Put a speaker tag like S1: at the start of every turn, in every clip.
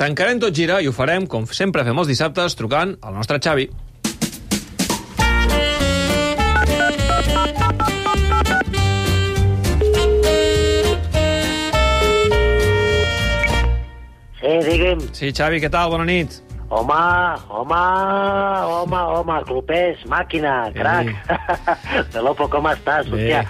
S1: Tancarem tot gira i ho farem, com sempre fem els dissabtes, trucant al nostre Xavi.
S2: Sí, digui'm.
S1: Sí, Xavi, què tal? Bona nit.
S2: Home, home, home, home, clubers, màquina, crac. De l'Opo, com
S1: Eh.
S2: estàs?
S1: Bé.
S2: Hòstia,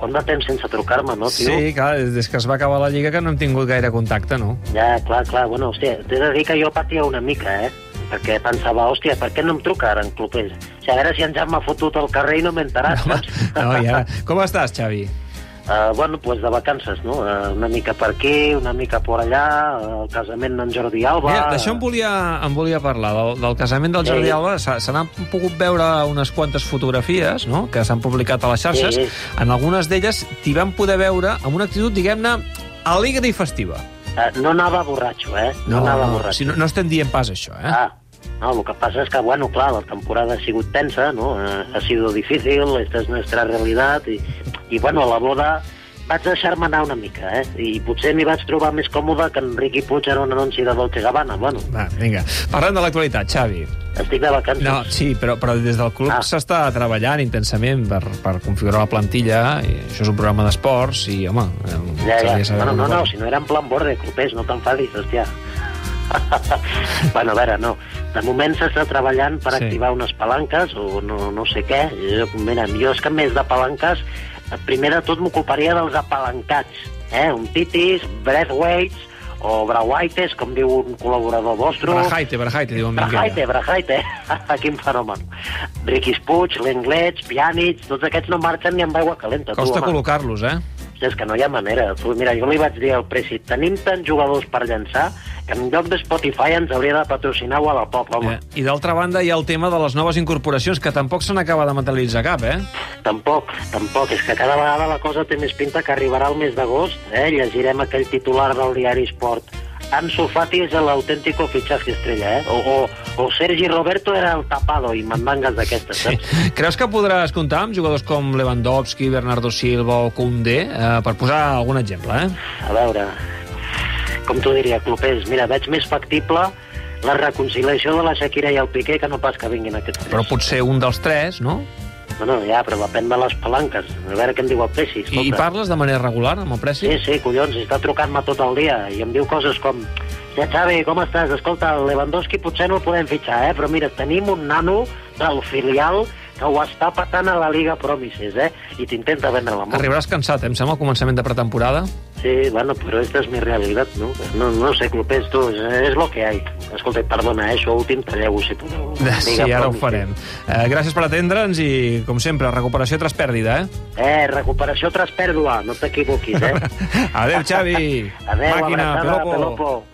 S2: quant de temps sense trucar-me, no, tio?
S1: Sí, clar, des que es va acabar la Lliga que no hem tingut gaire contacte, no?
S2: Ja, clar, clar, bueno, hòstia, t'he de dir que jo patia una mica, eh? Perquè pensava, hòstia, per què no em truca ara en clubers? O sigui, a veure si ens han m'ha fotut al carrer i no m'he enterat,
S1: No,
S2: saps?
S1: i ara... Com estàs, Xavi?
S2: Uh, bueno, doncs pues de vacances, no? Uh, una mica per aquí, una mica per allà, eh, el casament d'en Jordi Alba...
S1: Mira, d'això em volia, em volia parlar, del, del casament del
S2: Sí.
S1: Jordi Alba. Se, se n'han pogut veure unes quantes fotografies, no?, que s'han publicat a les xarxes.
S2: Sí.
S1: En algunes d'elles t'hi vam poder veure amb una actitud, diguem-ne, alegre i festiva.
S2: Eh, no anava borratxo, eh? No, anava borratxo.
S1: si no, no estem dient pas això, eh?
S2: Ah, no, el que pasa es que, bueno, clar, la temporada ha sigut tensa, ¿no? Eh, Ha sido difícil, esta es nuestra realidad, i, i bueno, a la boda vaig deixar-me anar una mica, eh? I potser m'hi vaig trobar més còmode que en Riqui Puig era un anunci de Dolce Gabbana. Bueno,
S1: Va, vinga. Parlem de l'actualitat, Xavi.
S2: estic de vacances.
S1: No, sí, però, però des del club
S2: Ah.
S1: s'està treballant intensament per, per configurar la plantilla. I això és un programa d'esports i, home... eh,
S2: Ja,
S1: s'hauria de
S2: ja.
S1: saber
S2: Bueno, no,
S1: alguna
S2: no,
S1: cosa.
S2: si no era en plan borde, clubers, no t'enfadis, hòstia. bueno, a veure, no. De moment s'està treballant per
S1: Sí.
S2: sí. activar unes palanques o no, no sé què. Jo, mira, jo és que més de palanques, eh, primer de tot m'ocuparia dels apalancats. Eh? Un titis, breathweights o brauaites, com diu un col·laborador vostre.
S1: Brajaite, Brajaite, diuen
S2: Brajaite,
S1: Minguella.
S2: Brajaite, quin fenomen. Riquis Puig, l'Englets, Pianits, tots aquests no marxen ni amb aigua calenta. tu,
S1: Costa
S2: home.
S1: col·locar-los, eh?
S2: Hòstia, És que no hi ha manera. Tu, mira, jo li vaig dir al Preci, tenim tants jugadors per llançar que en lloc de Spotify ens hauria de patrocinar Walla Pop, home.
S1: eh? I d'altra banda hi ha el tema de les noves incorporacions, que tampoc se n'acaba de materialitzar cap, eh?
S2: Tampoc, tampoc. És que cada vegada la cosa té més pinta que arribarà el mes d'agost, eh? Llegirem aquell titular del diari Sport. Ansu Fati és l'autèntico fitxatge estrella, eh? O, o, o Sergi Roberto era el tapado i mandangues d'aquestes,
S1: Sí.
S2: saps?
S1: Creus que podràs comptar amb jugadors com Lewandowski, Bernardo Silva o Koundé, eh, per posar algun exemple, eh?
S2: A veure, com t'ho diria, clubers, mira, veig més factible la reconciliació de la Shakira i el Piqué que no pas que vinguin aquests tres.
S1: Però potser un dels tres, no?
S2: Bueno, ja, però depèn de les palanques. A veure què em diu el Pessi,
S1: I, I
S2: escolta.
S1: parles de manera regular amb el Preci?
S2: Sí, sí, collons, està trucant-me tot el dia i em diu coses com... Ja, Xavi, com estàs? Escolta, el Lewandowski potser no el podem fitxar, eh? Però mira, tenim un nano del filial que ho està patant a la Liga Promises, eh? I t'intenta vendre la mort.
S1: Arribaràs cansat, eh, em sembla, al començament de pretemporada.
S2: Sí, bueno, però esta és mi realitat, no? No, no sé, clubers, tu, és, és lo que hay. Escolta, i perdona, eh? Això últim, talleu-ho, si podeu.
S1: Sí,
S2: Liga
S1: ara ho
S2: Promises.
S1: farem. Eh, gràcies per atendre'ns i, com sempre, recuperació tras pèrdida, eh?
S2: Eh, recuperació tras pèrdua, no t'equivoquis, eh?
S1: Adéu, Xavi.
S2: Adéu,
S1: Màquina,
S2: abraçada,
S1: Pelopo.
S2: Pelopo.